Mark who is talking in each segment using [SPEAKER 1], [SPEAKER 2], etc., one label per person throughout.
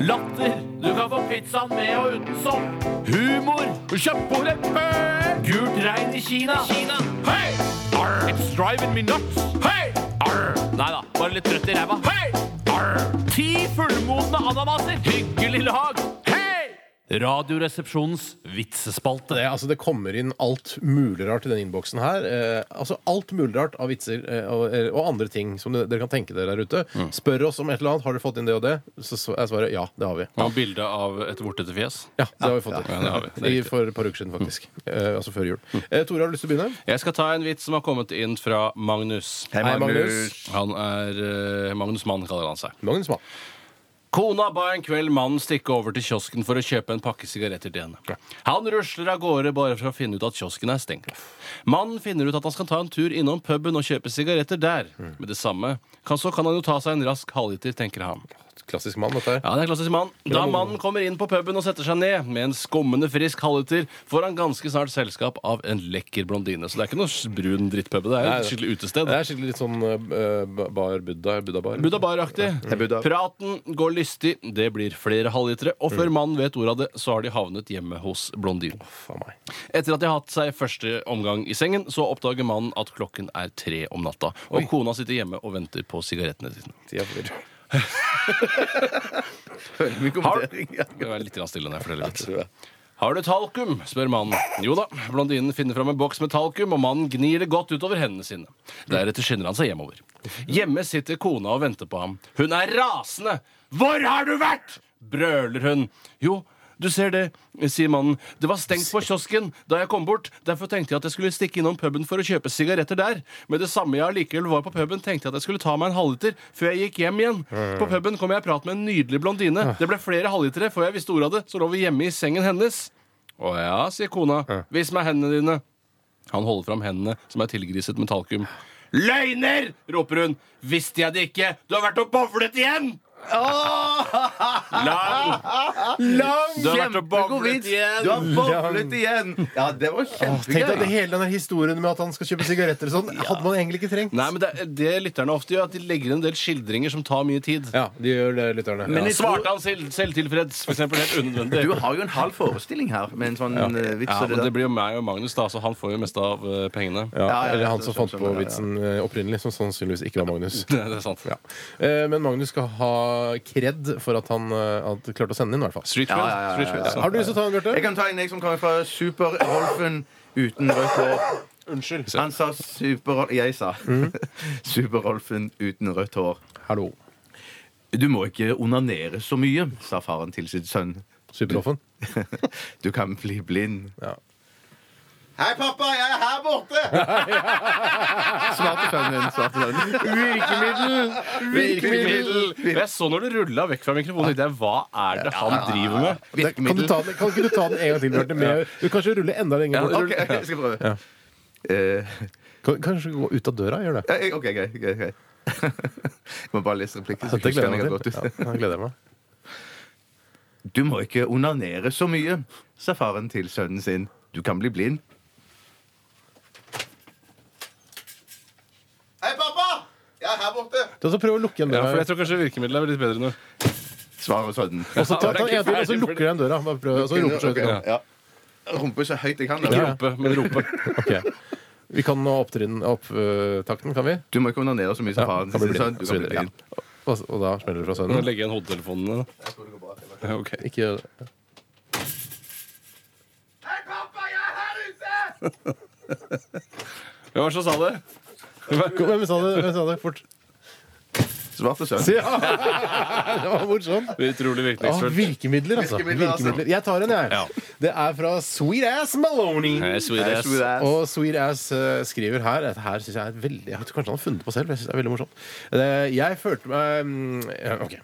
[SPEAKER 1] Latter. Du kan få pizzaen med og uten sopp. Humor. Kjøttbordet pøl. Gult regn i Kina. Hei! Arr. It's driving me nuts. Hei! Arr. Nei da, bare litt trøtt i ræva. Hei! Arr. Ti fullmodne ananaser. Hyggelig lag. Hei! Radioresepsjonens vitsespalte.
[SPEAKER 2] Det, altså, det kommer inn alt mulig rart i den innboksen her. Eh, altså Alt mulig rart av vitser eh, og, og andre ting som dere, dere kan tenke dere der ute.
[SPEAKER 3] Mm.
[SPEAKER 2] Spør oss om et eller annet. Har dere fått inn det og det? Så sv- er svaret ja, det har vi.
[SPEAKER 3] Og bilde av et vortete fjes.
[SPEAKER 2] Ja, det har vi fått
[SPEAKER 3] ja, det har vi. Det
[SPEAKER 2] inn.
[SPEAKER 3] er
[SPEAKER 2] I-
[SPEAKER 3] riktig. Mm.
[SPEAKER 2] For et par uker siden, faktisk. Eh, altså før jul. Eh, Tore, har du lyst til å begynne?
[SPEAKER 3] Jeg skal ta en vits som har kommet inn fra Magnus.
[SPEAKER 2] Hei, Magnus.
[SPEAKER 3] Han er eh, Magnus Mann, kaller han seg.
[SPEAKER 2] Magnus Mann.
[SPEAKER 3] Kona ba en kveld mannen stikke over til kiosken for å kjøpe en pakke sigaretter til henne. Han rusler av gårde bare for å finne ut at kiosken er stengt. Mannen finner ut at han skal ta en tur innom puben og kjøpe sigaretter der.
[SPEAKER 2] Mm.
[SPEAKER 3] Med det samme kan, så kan han jo ta seg en rask halvliter, tenker han.
[SPEAKER 2] Klassisk mann, dette her.
[SPEAKER 3] Ja, det er klassisk mann. Da mannen kommer inn på puben og setter seg ned med en skummende frisk halvliter, får han ganske snart selskap av en lekker blondine. Så det er ikke noe brun drittpub. Det er
[SPEAKER 2] Nei,
[SPEAKER 3] et
[SPEAKER 2] det-
[SPEAKER 3] skikkelig utested.
[SPEAKER 2] Det er skikkelig litt sånn eh, bar Buddha. Buddha bar.
[SPEAKER 3] Buddha Bar-aktig.
[SPEAKER 4] Buddha.
[SPEAKER 3] Praten går lystig, det blir flere halvlitere, og før mannen vet ordet av det, så har de havnet hjemme hos blondinen.
[SPEAKER 2] Faen meg.
[SPEAKER 3] Etter at de har hatt seg første omgang i sengen, så oppdager mannen at klokken er tre om natta, og kona sitter hjemme og venter på sigarettene sine.
[SPEAKER 2] Tida flyr.
[SPEAKER 4] Hører mye kommentering. Ja.
[SPEAKER 3] Det var litt grann stille når jeg forteller litt.
[SPEAKER 4] tror jeg.
[SPEAKER 3] Har du talkum? spør mannen. Jo da. Blondinen finner fram en boks med talkum, og mannen gnir det godt utover hendene sine. Deretter skynder han seg hjemover. Hjemme sitter kona og venter på ham. Hun er rasende! Hvor har du vært? brøler hun. Jo, du ser det, sier mannen. Det var stengt på kiosken da jeg kom bort. Derfor tenkte jeg at jeg skulle stikke innom puben for å kjøpe sigaretter der. Med det samme jeg allikevel var på puben, tenkte jeg at jeg skulle ta meg en halvliter før jeg gikk hjem igjen. På puben kom jeg i prat med en nydelig blondine. Det ble flere halvlitere før jeg visste ordet av det, så lå vi hjemme i sengen hennes. Å ja, sier kona. Vis meg hendene dine. Han holder fram hendene som er tilgriset med talkum. Løgner! roper hun. Visste jeg det ikke! Du har vært og bowlet igjen! Lang!
[SPEAKER 4] Lang,
[SPEAKER 3] Du har vært og
[SPEAKER 4] kjempegod
[SPEAKER 3] boblet
[SPEAKER 4] vits!
[SPEAKER 3] igjen.
[SPEAKER 4] Du har boblet igjen! Ja, det var
[SPEAKER 2] Tenk deg det
[SPEAKER 4] kjempegøy.
[SPEAKER 2] hele den her historien med at han skal kjøpe sigaretter og sånn. Hadde man egentlig ikke trengt.
[SPEAKER 3] Nei, men det, det lytterne ofte gjør, at de legger en del skildringer som tar mye tid.
[SPEAKER 2] Ja, de gjør det, lytterne.
[SPEAKER 3] Ja,
[SPEAKER 2] Ja.
[SPEAKER 3] Svartan selv, selvtilfreds, for eksempel, helt unødvendig.
[SPEAKER 4] Du har jo en halv forestilling her med en sånn eh, vits.
[SPEAKER 3] Ja,
[SPEAKER 4] og
[SPEAKER 3] men
[SPEAKER 4] det der.
[SPEAKER 3] det blir jo meg og Magnus, da, så han får jo mest av eh, pengene.
[SPEAKER 2] Ja,
[SPEAKER 4] Ja, ja,
[SPEAKER 2] eller han
[SPEAKER 4] det
[SPEAKER 2] som
[SPEAKER 4] skjønner
[SPEAKER 2] fant på
[SPEAKER 4] jeg, ja.
[SPEAKER 2] vitsen eh, opprinnelig, som sannsynligvis ikke var Magnus.
[SPEAKER 3] Det er sant.
[SPEAKER 2] Ja. Eh, Men Magnus skal ha kred for at han eh, at klarte å sende den, i hvert fall.
[SPEAKER 3] Street
[SPEAKER 4] Ja,
[SPEAKER 3] Fred.
[SPEAKER 4] ja, ja,
[SPEAKER 3] Street altså.
[SPEAKER 4] ja,
[SPEAKER 3] Fred,
[SPEAKER 4] ja.
[SPEAKER 3] sant.
[SPEAKER 2] Har du lyst til å ta den,
[SPEAKER 4] Jeg
[SPEAKER 2] Bjarte?
[SPEAKER 4] kan ta en jeg som kommer fra Super-Rolfen uten rødt hår.
[SPEAKER 2] Unnskyld.
[SPEAKER 4] Han sa super Jeg sa Super-Rolfen uten rødt hår.
[SPEAKER 2] Hallo.
[SPEAKER 4] Du må ikke onanere så mye, sa faren til sin sønn.
[SPEAKER 2] Superhoffen.
[SPEAKER 4] Du kan bli blind.
[SPEAKER 2] Ja.
[SPEAKER 4] Hei, pappa, jeg er her borte! Svarte sønnen min. Svarte sønnen.
[SPEAKER 2] Virkemiddel!
[SPEAKER 4] Virkemiddel!
[SPEAKER 3] Og Jeg så når du rulla vekk fra mikrofonen, tenkte jeg hva er det han driver med?
[SPEAKER 2] Kan, du
[SPEAKER 4] Virkemiddel.
[SPEAKER 2] ta den, kan ikke du ta den en gang til, Bjarte? med- Du kan kanskje rulle enda lenger bort.
[SPEAKER 4] OK, jeg skal prøve.
[SPEAKER 2] Ja.
[SPEAKER 4] Eh,
[SPEAKER 2] Kan- Kanskje gå ut av døra? Gjør det.
[SPEAKER 4] ja, jeg- OK, greit. greit, greit. Jeg må bare lese replikken. så
[SPEAKER 2] Dette
[SPEAKER 4] husker
[SPEAKER 2] gleder
[SPEAKER 4] jeg
[SPEAKER 2] jeg meg
[SPEAKER 4] godt
[SPEAKER 2] til.
[SPEAKER 4] ut.
[SPEAKER 2] Ja, jeg gleder meg.
[SPEAKER 4] Du må ikke onanere så mye, sa faren til sønnen sin. Du kan bli blind. Hei, pappa! Jeg er her borte!
[SPEAKER 2] Du også prøv å lukke igjen
[SPEAKER 3] Ja, for
[SPEAKER 2] døra.
[SPEAKER 3] jeg tror kanskje virkemidlet er litt bedre nå.
[SPEAKER 4] Svarer sønnen.
[SPEAKER 2] Og så ta, ta en
[SPEAKER 3] Ja, det er ikke
[SPEAKER 2] til, og så
[SPEAKER 3] ferdig,
[SPEAKER 2] lukker du igjen døra. Bare prøv, og så roper du
[SPEAKER 4] Ok,
[SPEAKER 2] ut.
[SPEAKER 4] ja. Rumpe så høyt jeg kan.
[SPEAKER 3] Ikke
[SPEAKER 4] Da.
[SPEAKER 3] rope, men rope.
[SPEAKER 2] Ok. Vi kan nå opptrinn- opptakten, kan vi?
[SPEAKER 4] Du må ikke onanere så mye som faren
[SPEAKER 2] kan bli
[SPEAKER 4] sin.
[SPEAKER 2] blind,
[SPEAKER 4] Sønn. Du
[SPEAKER 2] og så
[SPEAKER 4] kan bli
[SPEAKER 2] videre, ja.
[SPEAKER 4] blind.
[SPEAKER 2] Og, og da smeller det fra
[SPEAKER 3] Nå
[SPEAKER 2] sønnen.
[SPEAKER 3] legger jeg igjen hodetelefonene. da. Ja, ok.
[SPEAKER 2] Ikke gjør det.
[SPEAKER 3] Hvem var det som sa det?
[SPEAKER 2] Kom, Hvem sa det? Hvem sa det? Fort.
[SPEAKER 4] Svarte sønn.
[SPEAKER 2] Ja. Det var morsomt.
[SPEAKER 3] Utrolig
[SPEAKER 2] Ah,
[SPEAKER 3] virkningsfullt.
[SPEAKER 2] virkemidler, altså.
[SPEAKER 4] Virkemidler, altså.
[SPEAKER 2] Virkemidler. Jeg tar en, jeg.
[SPEAKER 3] Ja.
[SPEAKER 2] Det er fra Sweet Ass Maloney.
[SPEAKER 3] Eh, sweet ass.
[SPEAKER 2] Og Sweet Ass eh, skriver her Dette her synes jeg er veldig Jeg tror kanskje han har funnet på selv. Jeg synes det er veldig morsomt. Eh, Jeg følte meg mm, ja, Ok.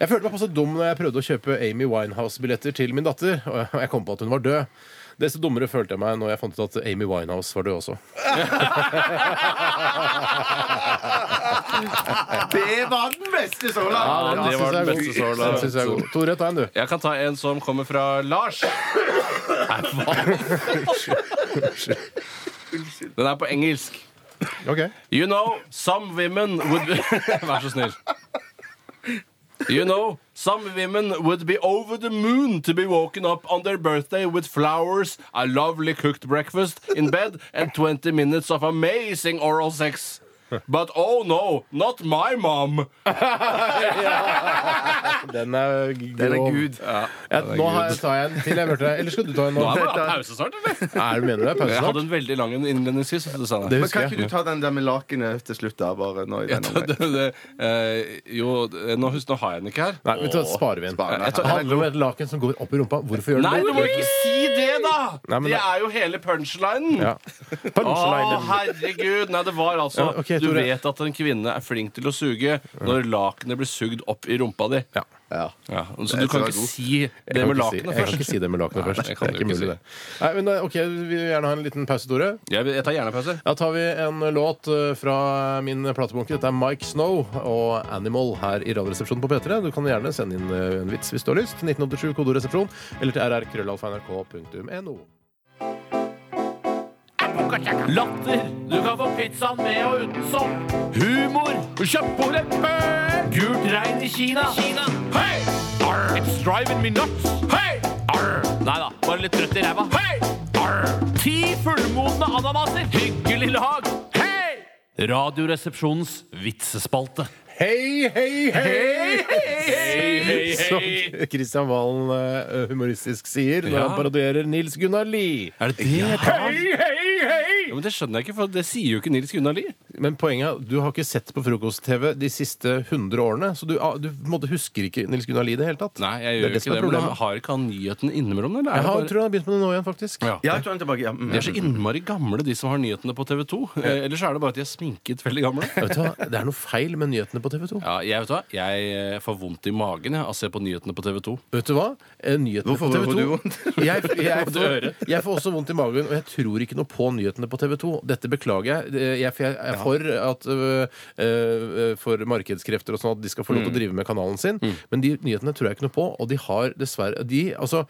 [SPEAKER 2] Jeg følte meg passe dum når jeg prøvde å kjøpe Amy Winehouse-billetter til min datter, og jeg kom på at hun var død. Desto dummere følte jeg meg når jeg fant ut at Amy Winehouse var død også.
[SPEAKER 4] Det var den beste så langt!
[SPEAKER 3] Ja, det var den beste så langt.
[SPEAKER 2] Den synes jeg er god. Tore, ta en, du.
[SPEAKER 3] Jeg kan ta en som kommer fra Lars. Nei, hva? Den er på engelsk.
[SPEAKER 2] Ok.
[SPEAKER 3] You know, some women would Vær så snill. You know, some women would be over the moon to be woken up on their birthday with flowers, a lovely cooked breakfast in bed, and 20 minutes of amazing oral sex. But oh no, not my mom!
[SPEAKER 2] Den er gud.
[SPEAKER 4] Den er gud.
[SPEAKER 2] Ja, nå har jeg, tar jeg en til. Jeg hørte deg. Eller skal du ta en nå?
[SPEAKER 3] Nå er det bare pause snart, eller?
[SPEAKER 2] Er du mener du det er pause
[SPEAKER 3] Jeg hadde
[SPEAKER 2] snart?
[SPEAKER 3] en veldig lang innledningsvis. Det sa
[SPEAKER 2] Det
[SPEAKER 3] jeg.
[SPEAKER 4] Men kan
[SPEAKER 2] husker
[SPEAKER 4] ikke
[SPEAKER 2] jeg.
[SPEAKER 4] du ta den der med lakenet til slutt, da? Bare nå i
[SPEAKER 3] Ja,
[SPEAKER 4] denne
[SPEAKER 3] det, det, det, eh, jo, nå, husk, nå har jeg den ikke her.
[SPEAKER 2] Nei, vet du hva, sparer vi en.
[SPEAKER 4] Sparer den.
[SPEAKER 2] Det handler om et laken som går opp i rumpa. Hvorfor gjør
[SPEAKER 3] Nei,
[SPEAKER 2] den
[SPEAKER 3] du
[SPEAKER 2] det?
[SPEAKER 3] må ikke si det, da!
[SPEAKER 2] Nei, men
[SPEAKER 3] det
[SPEAKER 2] da-
[SPEAKER 3] er jo hele punchlinen.
[SPEAKER 2] Ja.
[SPEAKER 3] Å,
[SPEAKER 2] Punchlinen.
[SPEAKER 3] herregud! Nei, det var altså
[SPEAKER 2] Ja, ok,
[SPEAKER 3] Du
[SPEAKER 2] Tore.
[SPEAKER 3] vet at en kvinne er flink til å suge når lakenet blir sugd opp i rumpa di.
[SPEAKER 2] Ja.
[SPEAKER 4] Ja.
[SPEAKER 3] Ja, så du kan
[SPEAKER 4] Jeg tror jeg er
[SPEAKER 3] ikke
[SPEAKER 4] god.
[SPEAKER 3] si
[SPEAKER 2] Jeg
[SPEAKER 3] det
[SPEAKER 2] kan
[SPEAKER 3] med
[SPEAKER 2] ikke si- Jeg
[SPEAKER 3] lakenet
[SPEAKER 2] kan ikke
[SPEAKER 3] først.
[SPEAKER 2] si det med lakenet
[SPEAKER 3] Nei,
[SPEAKER 2] først.
[SPEAKER 3] det
[SPEAKER 2] Det
[SPEAKER 3] kan
[SPEAKER 2] er
[SPEAKER 3] du
[SPEAKER 2] ikke
[SPEAKER 3] ikke
[SPEAKER 2] mulig,
[SPEAKER 3] si.
[SPEAKER 2] det. Nei, men eh, OK, vi vil gjerne ha en liten pause, Tore.
[SPEAKER 3] Jeg, jeg tar gjerne en pause.
[SPEAKER 2] Da tar vi en låt eh, fra min platebunke. Dette er Mike Snow og Animal her i Radioresepsjonen på P3. Du kan gjerne sende inn eh, en vits hvis du har lyst. 1987 kodoresepsjon eller til rrkrøllalfa.nrk.no.
[SPEAKER 1] Latter. Du kan få pizzaen med og uten sopp. Humor. Kjøpt på leppe. Gult regn i Kina. Kina. Hey! Arr. It's driving me nuts. Hey! Arr. Nei da, bare litt trøtt i ræva. Hey! Arr. Ti fullmodne ananaser. Hyggelig lag. Hei! Radioresepsjonens vitsespalte.
[SPEAKER 2] Hei, hei, hei!
[SPEAKER 3] Hei, hei,
[SPEAKER 2] Som Kristian Valen eh, humoristisk sier når
[SPEAKER 3] Ja.
[SPEAKER 2] han parodierer Nils Gunnar Lie.
[SPEAKER 3] Er det det?
[SPEAKER 2] Hei, hei, hei!
[SPEAKER 3] Ja, men Det skjønner jeg ikke, for det sier jo ikke Nils Gunnar Lie.
[SPEAKER 2] Men poenget er, du har ikke sett på frokost-TV de siste 100 årene, så du, ah, du på en måte husker ikke Nils Gunnar Lie i det hele tatt.
[SPEAKER 3] Nei, jeg gjør
[SPEAKER 2] er
[SPEAKER 3] jo ikke
[SPEAKER 2] som er
[SPEAKER 3] det, men
[SPEAKER 2] problemet.
[SPEAKER 3] de har ikke han nyheten innimellom? Eller?
[SPEAKER 2] Jeg
[SPEAKER 3] Er
[SPEAKER 2] har,
[SPEAKER 3] det
[SPEAKER 2] tror han har begynt med det nå igjen, faktisk.
[SPEAKER 3] bare...
[SPEAKER 4] Ja,
[SPEAKER 3] ja.
[SPEAKER 4] jeg tror han er tilbake. Ja. mm.
[SPEAKER 3] De er så innmari gamle, de som har nyhetene på TV 2. Eh, Eller så er det bare at de er sminket veldig gamle.
[SPEAKER 2] Vet du hva? Det er noe feil med nyhetene på TV 2.
[SPEAKER 3] Ja, jeg vet du hva, jeg eh, får vondt i magen jeg, av å se på nyhetene på TV 2.
[SPEAKER 2] Vet du hva? Eh, Nyhetene
[SPEAKER 4] Hvorfor
[SPEAKER 2] på TV 2
[SPEAKER 4] får du vondt?
[SPEAKER 2] Jeg, jeg,
[SPEAKER 3] Må du
[SPEAKER 2] får,
[SPEAKER 3] høre?
[SPEAKER 2] jeg får også vondt i magen, og jeg tror ikke noe på nyhetene på TV 2. Dette beklager jeg. Det- Jeg, for jeg er for at øh, øh, For markedskrefter og sånn at de skal få lov til
[SPEAKER 4] Mm.
[SPEAKER 2] å drive med kanalen sin, men de nyhetene tror jeg ikke noe på, og de har dessverre De, altså,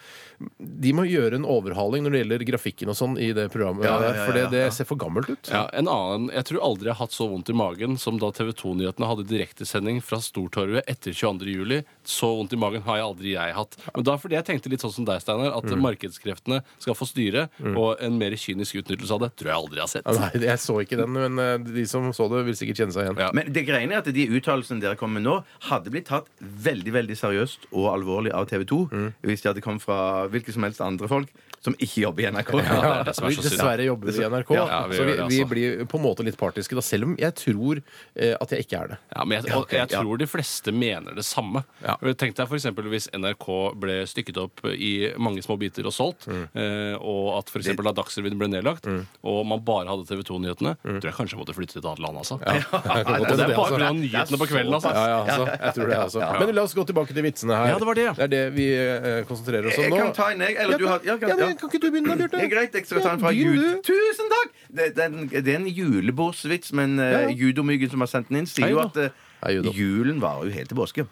[SPEAKER 2] de må gjøre en overhaling når det gjelder grafikken og sånn i det programmet,
[SPEAKER 4] Ja, ja, ja,
[SPEAKER 2] for det,
[SPEAKER 4] ja,
[SPEAKER 2] det ser for gammelt ut.
[SPEAKER 3] Ja, en annen, Jeg tror aldri jeg har hatt så vondt i magen som da TV 2-nyhetene hadde direktesending fra Stortorvet etter 22. juli. Så vondt i magen har jeg aldri jeg hatt. Men da er fordi jeg tenkte litt sånn som deg, Steinar, at markedskreftene skal få styre, og en mer kynisk utnyttelse av det tror jeg aldri jeg har sett.
[SPEAKER 2] Ja, Nei, jeg så ikke den, men øh, de som så det, vil sikkert kjenne seg igjen.
[SPEAKER 3] Ja.
[SPEAKER 4] Men det greiene er at de uttalelsene dere kom med nå, hadde blitt tatt veldig veldig seriøst og alvorlig av TV 2
[SPEAKER 2] Mm.
[SPEAKER 4] hvis de hadde kommet fra hvilke som helst andre folk som ikke jobber i NRK.
[SPEAKER 3] Ja, det er det som er så synd.
[SPEAKER 2] Dessverre jobber vi i NRK,
[SPEAKER 3] Ja, vi
[SPEAKER 2] så
[SPEAKER 3] gjør
[SPEAKER 2] vi,
[SPEAKER 3] det,
[SPEAKER 2] vi
[SPEAKER 3] altså.
[SPEAKER 2] blir på en måte litt partiske, da, selv om jeg tror eh, at jeg ikke er det.
[SPEAKER 3] Ja, men jeg, og jeg tror de fleste mener det samme.
[SPEAKER 2] Ja.
[SPEAKER 3] Tenk deg for eksempel hvis NRK ble stykket opp i mange små biter og solgt,
[SPEAKER 2] Mm.
[SPEAKER 3] eh, og at for eksempel da Dagsrevyen ble nedlagt, og man bare hadde TV 2-nyhetene, tror jeg kanskje jeg måtte flytte til et annet land, altså.
[SPEAKER 2] kan godt
[SPEAKER 3] Det
[SPEAKER 2] hende Mm.
[SPEAKER 3] er
[SPEAKER 2] det,
[SPEAKER 3] bare
[SPEAKER 2] altså.
[SPEAKER 3] pga. nyhetene på kvelden, altså.
[SPEAKER 2] Ja, ja, altså, jeg tror det, altså. Men la oss gå tilbake til vitsene her.
[SPEAKER 3] Ja, det var det, ja.
[SPEAKER 2] er det vi eh, konsentrerer oss om
[SPEAKER 4] Jeg
[SPEAKER 2] nå.
[SPEAKER 4] kan ta en, jeg. Eller du har
[SPEAKER 2] ja,
[SPEAKER 4] ja, kan, ja.
[SPEAKER 2] men, kan ikke du begynne da, Bjarte?
[SPEAKER 4] Det er greit, jeg skal ta en fra
[SPEAKER 2] Ja, begynn
[SPEAKER 4] Jud.
[SPEAKER 2] du.
[SPEAKER 4] Tusen takk! Det, det, er en- det er en julebordsvits, men
[SPEAKER 2] Ja.
[SPEAKER 4] eh, judomyggen som har sendt den inn, sier
[SPEAKER 2] Hei,
[SPEAKER 4] jo
[SPEAKER 2] da.
[SPEAKER 4] at eh,
[SPEAKER 2] Hei, Judo.
[SPEAKER 4] julen varer jo helt til påske.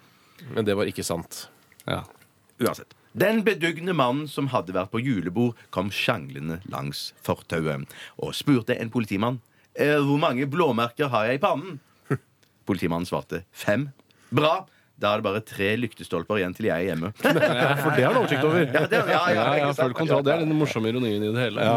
[SPEAKER 2] Men det var ikke sant.
[SPEAKER 3] Ja.
[SPEAKER 4] Uansett. Den bedugne mannen som hadde vært på julebord, kom sjanglende langs fortauet og spurte en politimann «Eh, hvor mange blåmerker har jeg i pannen. Politimannen svarte fem. Bra! Da er det bare tre lyktestolper igjen til jeg er hjemme.
[SPEAKER 2] For det har du oversikt over.
[SPEAKER 4] Ja, det, ja, ja,
[SPEAKER 3] Ja,
[SPEAKER 4] ikke
[SPEAKER 3] ja,
[SPEAKER 4] sant?
[SPEAKER 3] full kontroll. Det er den morsomme ironien i det hele. Ja,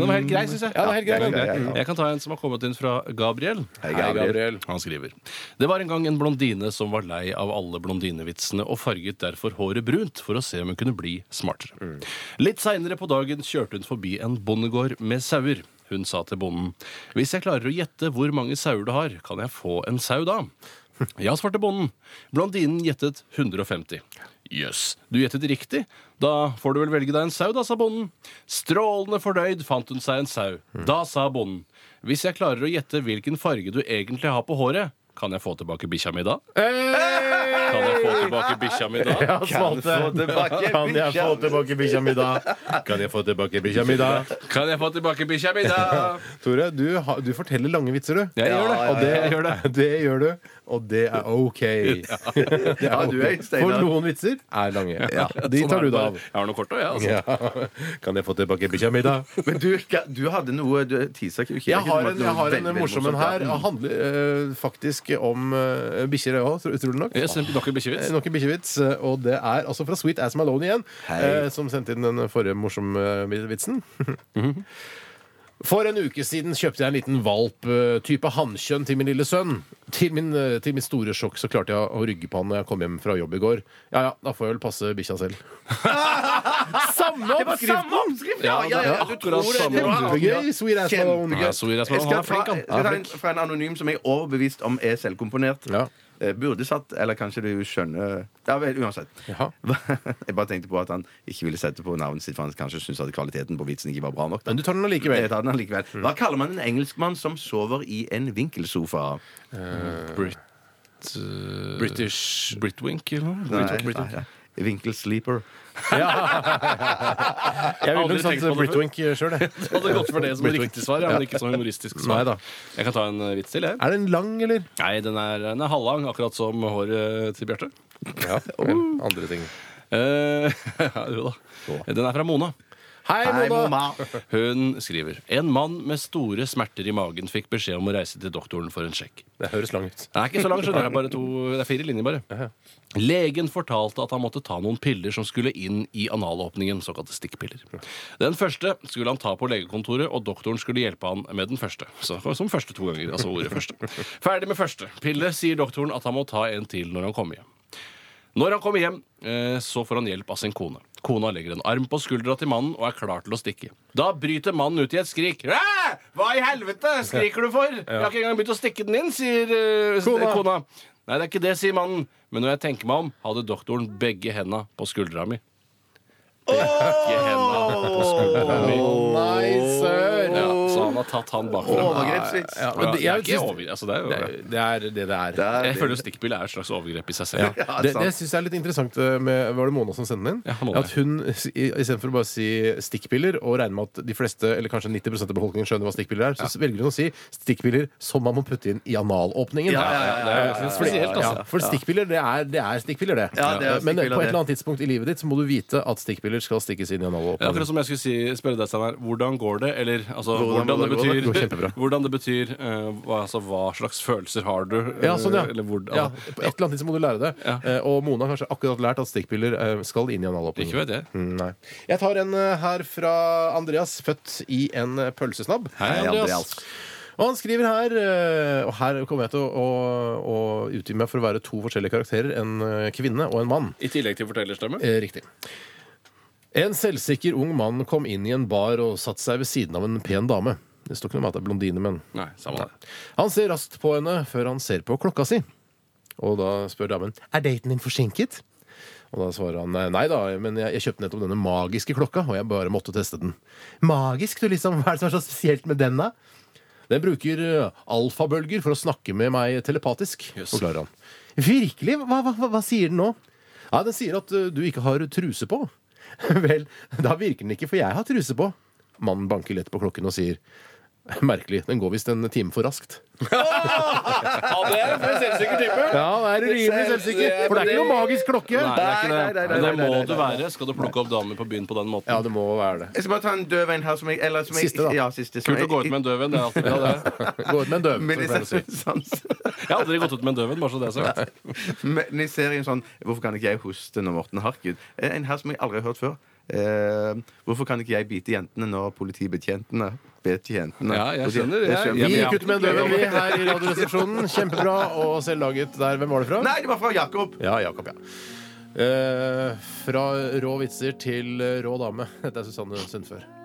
[SPEAKER 3] Den var helt grei, syns jeg.
[SPEAKER 2] Ja, den var helt grei,
[SPEAKER 3] den var
[SPEAKER 2] den.
[SPEAKER 3] grei. Jeg kan ta en som har kommet inn fra Gabriel.
[SPEAKER 4] Hei,
[SPEAKER 2] Hei, Gabriel.
[SPEAKER 3] Han skriver Det var en gang en blondine som var lei av alle blondinevitsene og farget derfor håret brunt for å se om hun kunne bli smartere. Litt seinere på dagen kjørte hun forbi en bondegård med sauer. Hun sa til bonden Hvis jeg klarer å gjette hvor mange sauer du har, kan jeg få en sau da? Ja, svarte bonden. Blondinen gjettet 150. Jøss, du gjettet riktig. Da får du vel velge deg en sau, da, sa bonden. Strålende fornøyd fant hun seg en sau. Da sa bonden. Hvis jeg klarer å gjette hvilken farge du egentlig har på håret, kan jeg få tilbake bikkja mi da? Kan jeg få tilbake bikkja mi da?
[SPEAKER 2] Kan jeg få tilbake Kan jeg få tilbake bikkja mi da? Kan jeg få tilbake bikkja mi da?
[SPEAKER 3] Kan jeg få tilbake bikkja mi da?
[SPEAKER 2] Tore, du, har- du forteller lange vitser, du.
[SPEAKER 3] Jeg gjør det.
[SPEAKER 2] Og det,
[SPEAKER 3] Jeg gjør det.
[SPEAKER 2] gjør du, og det er OK. Det
[SPEAKER 4] Ja, du er
[SPEAKER 2] ok.
[SPEAKER 4] Steinar.
[SPEAKER 2] For noen vitser er lange. De
[SPEAKER 3] Sånn er
[SPEAKER 2] tar du
[SPEAKER 3] det
[SPEAKER 2] da
[SPEAKER 3] bare.
[SPEAKER 2] av.
[SPEAKER 3] Jeg har noe kort òg, jeg. Altså.
[SPEAKER 2] Ja. Kan jeg få tilbake bikkja mi, da?
[SPEAKER 4] Men du, du hadde noe Du tisa ikke.
[SPEAKER 2] Jeg har en, jeg har en morsom en her. Det handler eh, faktisk om uh, bikkjer, jeg òg, utrolig nok.
[SPEAKER 3] Jeg sendte nok en bikkjevits.
[SPEAKER 2] nok en bikkjevits, og det er altså fra Sweet As Malone igjen, eh, som sendte inn den forrige morsomme eh, vitsen. For en uke siden kjøpte jeg en liten valp, eh, type hannkjønn, til min lille sønn. Til, min, eh, til mitt store sjokk så klarte jeg å rygge på han når jeg kom hjem fra jobb i går. Ja ja, da får jeg vel passe bikkja selv. samme oppskriften!
[SPEAKER 4] oppskrift! Ja, ja, ja, du tror
[SPEAKER 3] akkurat
[SPEAKER 4] det.
[SPEAKER 3] samme
[SPEAKER 4] det. var-
[SPEAKER 2] Kjempegøy, Sweet As Malone.
[SPEAKER 3] Ja, Sweet As Malone,
[SPEAKER 4] Jeg skal
[SPEAKER 3] han er flink,
[SPEAKER 4] ta-
[SPEAKER 3] han.
[SPEAKER 4] jeg skal ta en fra en anonym som jeg er overbevist om er selvkomponert.
[SPEAKER 2] Ja.
[SPEAKER 4] Eh, Burde satt, eller kanskje du skjønner Ja vel, uansett.
[SPEAKER 2] Jaha.
[SPEAKER 4] Jeg bare tenkte på at han ikke ville sette på navnet sitt, for han kanskje syntes at kvaliteten på vitsen ikke var bra nok. da.
[SPEAKER 2] Men du tar den allikevel.
[SPEAKER 4] Jeg tar den allikevel. Hva kaller man en engelskmann som sover i en vinkelsofa?
[SPEAKER 3] Brit,
[SPEAKER 2] British
[SPEAKER 3] Britwink, eller noe?
[SPEAKER 4] Nei, nei, ja. Vinkelsleeper.
[SPEAKER 2] Jeg ville nok
[SPEAKER 3] Aldri
[SPEAKER 2] sagt
[SPEAKER 3] tenkt på det
[SPEAKER 2] Britwink eh, sjøl, jeg.
[SPEAKER 3] Det hadde gått for det som et
[SPEAKER 2] Britwink.
[SPEAKER 3] riktig svar, ja, men ikke som humoristisk svar.
[SPEAKER 2] Neida.
[SPEAKER 3] Jeg kan ta en eh, vits til, jeg.
[SPEAKER 2] Er den lang, eller?
[SPEAKER 3] Nei, den er, den er halvlang, akkurat som håret til Bjarte.
[SPEAKER 2] Ja. Andre ting.
[SPEAKER 3] Eh, ja, jo da. Den er fra Mona.
[SPEAKER 2] Hei,
[SPEAKER 4] Hei,
[SPEAKER 2] Mona!
[SPEAKER 4] mamma.
[SPEAKER 3] Hun skriver En mann med store smerter i magen fikk beskjed om å reise til doktoren for en sjekk.
[SPEAKER 2] Det høres lang ut.
[SPEAKER 3] Det er ikke så langt, skjønner jeg. Det er Bare to, det er fire linjer, bare. Legen fortalte at han måtte ta noen piller som skulle inn i analåpningen, såkalte stikkpiller. Den første skulle han ta på legekontoret, og doktoren skulle hjelpe han med den første. Så, som første to ganger, altså ordet første. Ferdig med første pille, sier doktoren at han må ta en til når han kommer hjem. Når han kommer hjem, eh, så får han hjelp av sin kone. Kona legger en arm på skuldra til mannen og er klar til å stikke. Da bryter mannen ut i et skrik. «Æ! Hva i helvete skriker du for? Jeg har ikke engang begynt å stikke den inn, sier eh, s-
[SPEAKER 2] Kona.
[SPEAKER 3] kona. Nei, det er ikke det, sier mannen. Men når jeg tenker meg om, hadde doktoren begge henda på skuldra mi. Begge henda på skuldra mi.
[SPEAKER 2] Nei, sør!
[SPEAKER 3] Ja, så han har tatt han bakfra.
[SPEAKER 4] Overgrepsvits.
[SPEAKER 2] Ja,
[SPEAKER 3] Ja,
[SPEAKER 2] men det,
[SPEAKER 3] det er
[SPEAKER 2] jeg,
[SPEAKER 3] ikke
[SPEAKER 2] syns-
[SPEAKER 3] overgrep. Altså, det er jo,
[SPEAKER 2] det er det det er.
[SPEAKER 4] Det er-
[SPEAKER 3] jeg føler jo stikkpille er et slags overgrep i seg selv.
[SPEAKER 4] Ja,
[SPEAKER 2] Det,
[SPEAKER 4] sant.
[SPEAKER 2] det syns jeg er litt interessant eh, med Var det Mona som sendte den inn?
[SPEAKER 3] Ja, Mona.
[SPEAKER 2] At hun istedenfor å bare si stikkpiller og regne med at de fleste, eller kanskje 90 av befolkningen skjønner hva stikkpiller er, så velger hun å si stikkpiller som man må putte inn i analåpningen.
[SPEAKER 4] Ja, ja, ja, ja, ja, ja,
[SPEAKER 3] ja, ja.
[SPEAKER 2] Fordi-
[SPEAKER 3] Spesielt, altså.
[SPEAKER 2] ja, For stikkpiller, det er, det er stikkpiller, det. Eh,
[SPEAKER 4] Ja, det er
[SPEAKER 2] Men på
[SPEAKER 4] stikkpiller,
[SPEAKER 2] et
[SPEAKER 4] det.
[SPEAKER 2] eller annet tidspunkt i livet ditt så må du vite at stikkpiller skal stikkes inn i
[SPEAKER 3] Det er akkurat
[SPEAKER 2] analåpningen.
[SPEAKER 3] som jeg skulle si, spørre deg, Steinar. Hvordan går det? Eller altså, hvordan,
[SPEAKER 4] Hvordan-
[SPEAKER 3] det
[SPEAKER 4] hvordan går det?
[SPEAKER 3] betyr,
[SPEAKER 2] Det går kjempebra.
[SPEAKER 3] hvordan det betyr eh, hva, altså, hva slags følelser har du? eh,
[SPEAKER 2] Ja, sånn, ja.
[SPEAKER 3] Eller altså, hvordan,
[SPEAKER 2] ja. På et eller annet tidspunkt må du lære det.
[SPEAKER 3] Ja.
[SPEAKER 2] Eh, Og Mona har kanskje akkurat lært at stikkpiller eh, skal inn i
[SPEAKER 3] Ikke
[SPEAKER 2] analåpningen.
[SPEAKER 3] vet jeg.
[SPEAKER 2] Mm, Nei. Jeg tar en eh, her fra Andreas, født i en eh, pølsesnabb.
[SPEAKER 3] Hei, Andreas.
[SPEAKER 4] Andreas.
[SPEAKER 2] Og han skriver her eh, Og her kommer jeg til å, å, å utgi meg for å være to forskjellige karakterer. En eh, kvinne og en mann.
[SPEAKER 3] I tillegg til fortellerstemme.
[SPEAKER 2] Eh, Riktig. En selvsikker ung mann kom inn i en bar og satte seg ved siden av en pen dame. Det står ikke noe om at det er blondine, men
[SPEAKER 3] Nei, samme det.
[SPEAKER 2] Han ser raskt på henne før han ser på klokka si. Og da spør damen Er daten din forsinket. Og da svarer han nei da, men jeg, jeg kjøpte nettopp denne magiske klokka, og jeg bare måtte teste den. Magisk, du liksom? Hva er det som er så spesielt med den, da? Den bruker eh, alfabølger for å snakke med meg telepatisk,
[SPEAKER 3] Jøss.
[SPEAKER 2] forklarer han. Virkelig? Hva, hva, hva- hva sier den nå? Ja, Den sier at eh, du ikke har truse på. Vel, da virker den ikke, for jeg har truse på. Mannen banker lett på klokken og sier Merkelig. Den går visst en time for raskt.
[SPEAKER 3] Ja, det er en selvsikker type.
[SPEAKER 2] Ja, det er urimelig selvsikker. For det er ikke noe magisk klokke.
[SPEAKER 3] Nei, det er ikke det.
[SPEAKER 4] Nei, nei,
[SPEAKER 3] Men
[SPEAKER 4] nei,
[SPEAKER 3] det
[SPEAKER 4] nei, nei,
[SPEAKER 3] må
[SPEAKER 4] nei,
[SPEAKER 3] du være. Skal du plukke opp damer på byen på den måten?
[SPEAKER 2] Ja, det må være det.
[SPEAKER 4] Jeg skal bare ta en døv en her. Som jeg, eller, som jeg,
[SPEAKER 2] Siste, da.
[SPEAKER 4] Ja, siste, som
[SPEAKER 3] Kult å
[SPEAKER 4] jeg-
[SPEAKER 3] gå ut med en døven. Det er alltid bra, det.
[SPEAKER 2] Gå ut med en døv.
[SPEAKER 4] Men liksom-
[SPEAKER 2] som jeg pleier
[SPEAKER 4] jeg
[SPEAKER 2] å si.
[SPEAKER 4] ser- sånn-
[SPEAKER 3] Jeg har aldri gått ut med en døven, bare så det er sagt.
[SPEAKER 4] Men i serien sånn Hvorfor kan ikke jeg hoste når Morten Harket? En her som jeg aldri har hørt før. Eh, hvorfor kan ikke jeg bite jentene når politibetjentene Betjentene
[SPEAKER 3] Ja, jeg skjønner. Jeg-
[SPEAKER 2] Vi
[SPEAKER 3] Ja, men ja.
[SPEAKER 2] gikk ut med en døv, vi, her i Radioresepsjonen. Kjempebra og selvlaget der. Hvem var det fra?
[SPEAKER 4] Nei, det var fra Jakob!
[SPEAKER 2] Ja, Jakob, ja. Eh, fra rå vitser til eh, rå dame. Dette er Susanne Sundfør.